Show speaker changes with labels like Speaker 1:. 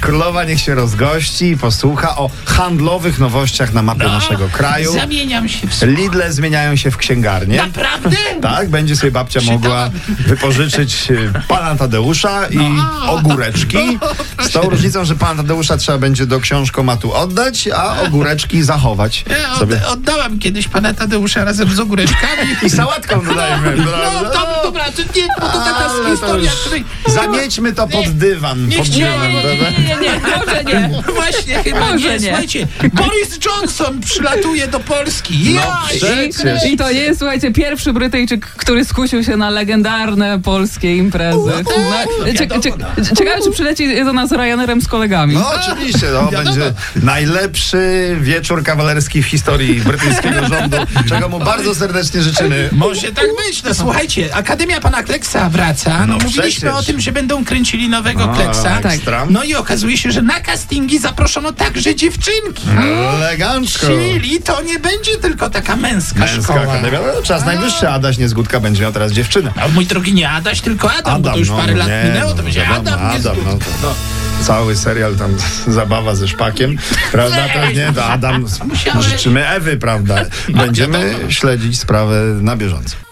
Speaker 1: Królowa niech się rozgości i posłucha o handlowych nowościach na mapie naszego kraju.
Speaker 2: Zamieniam się w słuch.
Speaker 1: Lidle zmieniają się w księgarnie.
Speaker 2: Naprawdę?
Speaker 1: Tak, będzie sobie babcia
Speaker 2: Czytałam.
Speaker 1: mogła wypożyczyć e, pana Tadeusza i ogóreczki. Z tą różnicą, że pana Tadeusza trzeba będzie do książkomatu oddać, a ogóreczki zachować
Speaker 2: Ja od,
Speaker 1: Tak. sobie.
Speaker 2: oddałam kiedyś pana Tadeusza razem z ogóreczkami.
Speaker 1: I sałatką dodajmy.
Speaker 2: No,
Speaker 1: prawda?
Speaker 2: to, dobra, to nie, bo to taka
Speaker 1: Ale to
Speaker 2: historia,
Speaker 1: już-
Speaker 2: której...
Speaker 1: Zamiećmy to pod dywan.
Speaker 2: nie
Speaker 1: Pod
Speaker 2: chciałem,
Speaker 1: dywan,
Speaker 2: nie,
Speaker 1: prawda?
Speaker 3: nie, nie, może nie.
Speaker 2: No Właśnie, chyba
Speaker 3: Może
Speaker 2: nie,
Speaker 3: nie.
Speaker 2: słuchajcie. Boris Johnson przylatuje do Polski. Ja,
Speaker 1: przecież.
Speaker 3: I to jest, słuchajcie, pierwszy Brytyjczyk, który skusił się na legendarne polskie imprezy. No, cie- cie- Ciekawe, czy przyleci do nas Ryanairem z kolegami.
Speaker 1: No oczywiście, no, będzie najlepszy wieczór kawalerski w historii brytyjskiego rządu, czego mu bardzo serdecznie życzymy.
Speaker 2: Może tak być. No słuchajcie, Akademia Pana Kleksa wraca. No,
Speaker 1: No
Speaker 2: mówiliśmy
Speaker 1: przecież.
Speaker 2: o tym, że będą kręcili nowego Kleksa.
Speaker 3: tak.
Speaker 1: ekstra.
Speaker 2: No i okazuje się, że na castingi zaproszono także dziewczynki.
Speaker 1: No, Elegancko.
Speaker 2: Czyli to nie będzie tylko taka męska,
Speaker 1: Męska
Speaker 2: szkoła.
Speaker 1: akademia. No, czas najwyższy. Adaś Niezgódka będzie miał teraz dziewczynę.
Speaker 2: A mój drogi nie Adaś, tylko Adam, bo to już parę lat
Speaker 1: nie,
Speaker 2: minęło, to będzie
Speaker 1: wiadomo,
Speaker 2: Adam, nie
Speaker 1: Adam,
Speaker 2: Adam
Speaker 1: no, to, Cały serial tam zabawa ze szpakiem, prawda? To nie, to Adam.
Speaker 2: Musiałeś.
Speaker 1: Życzymy Ewy, prawda? Będziemy śledzić sprawę na bieżąco.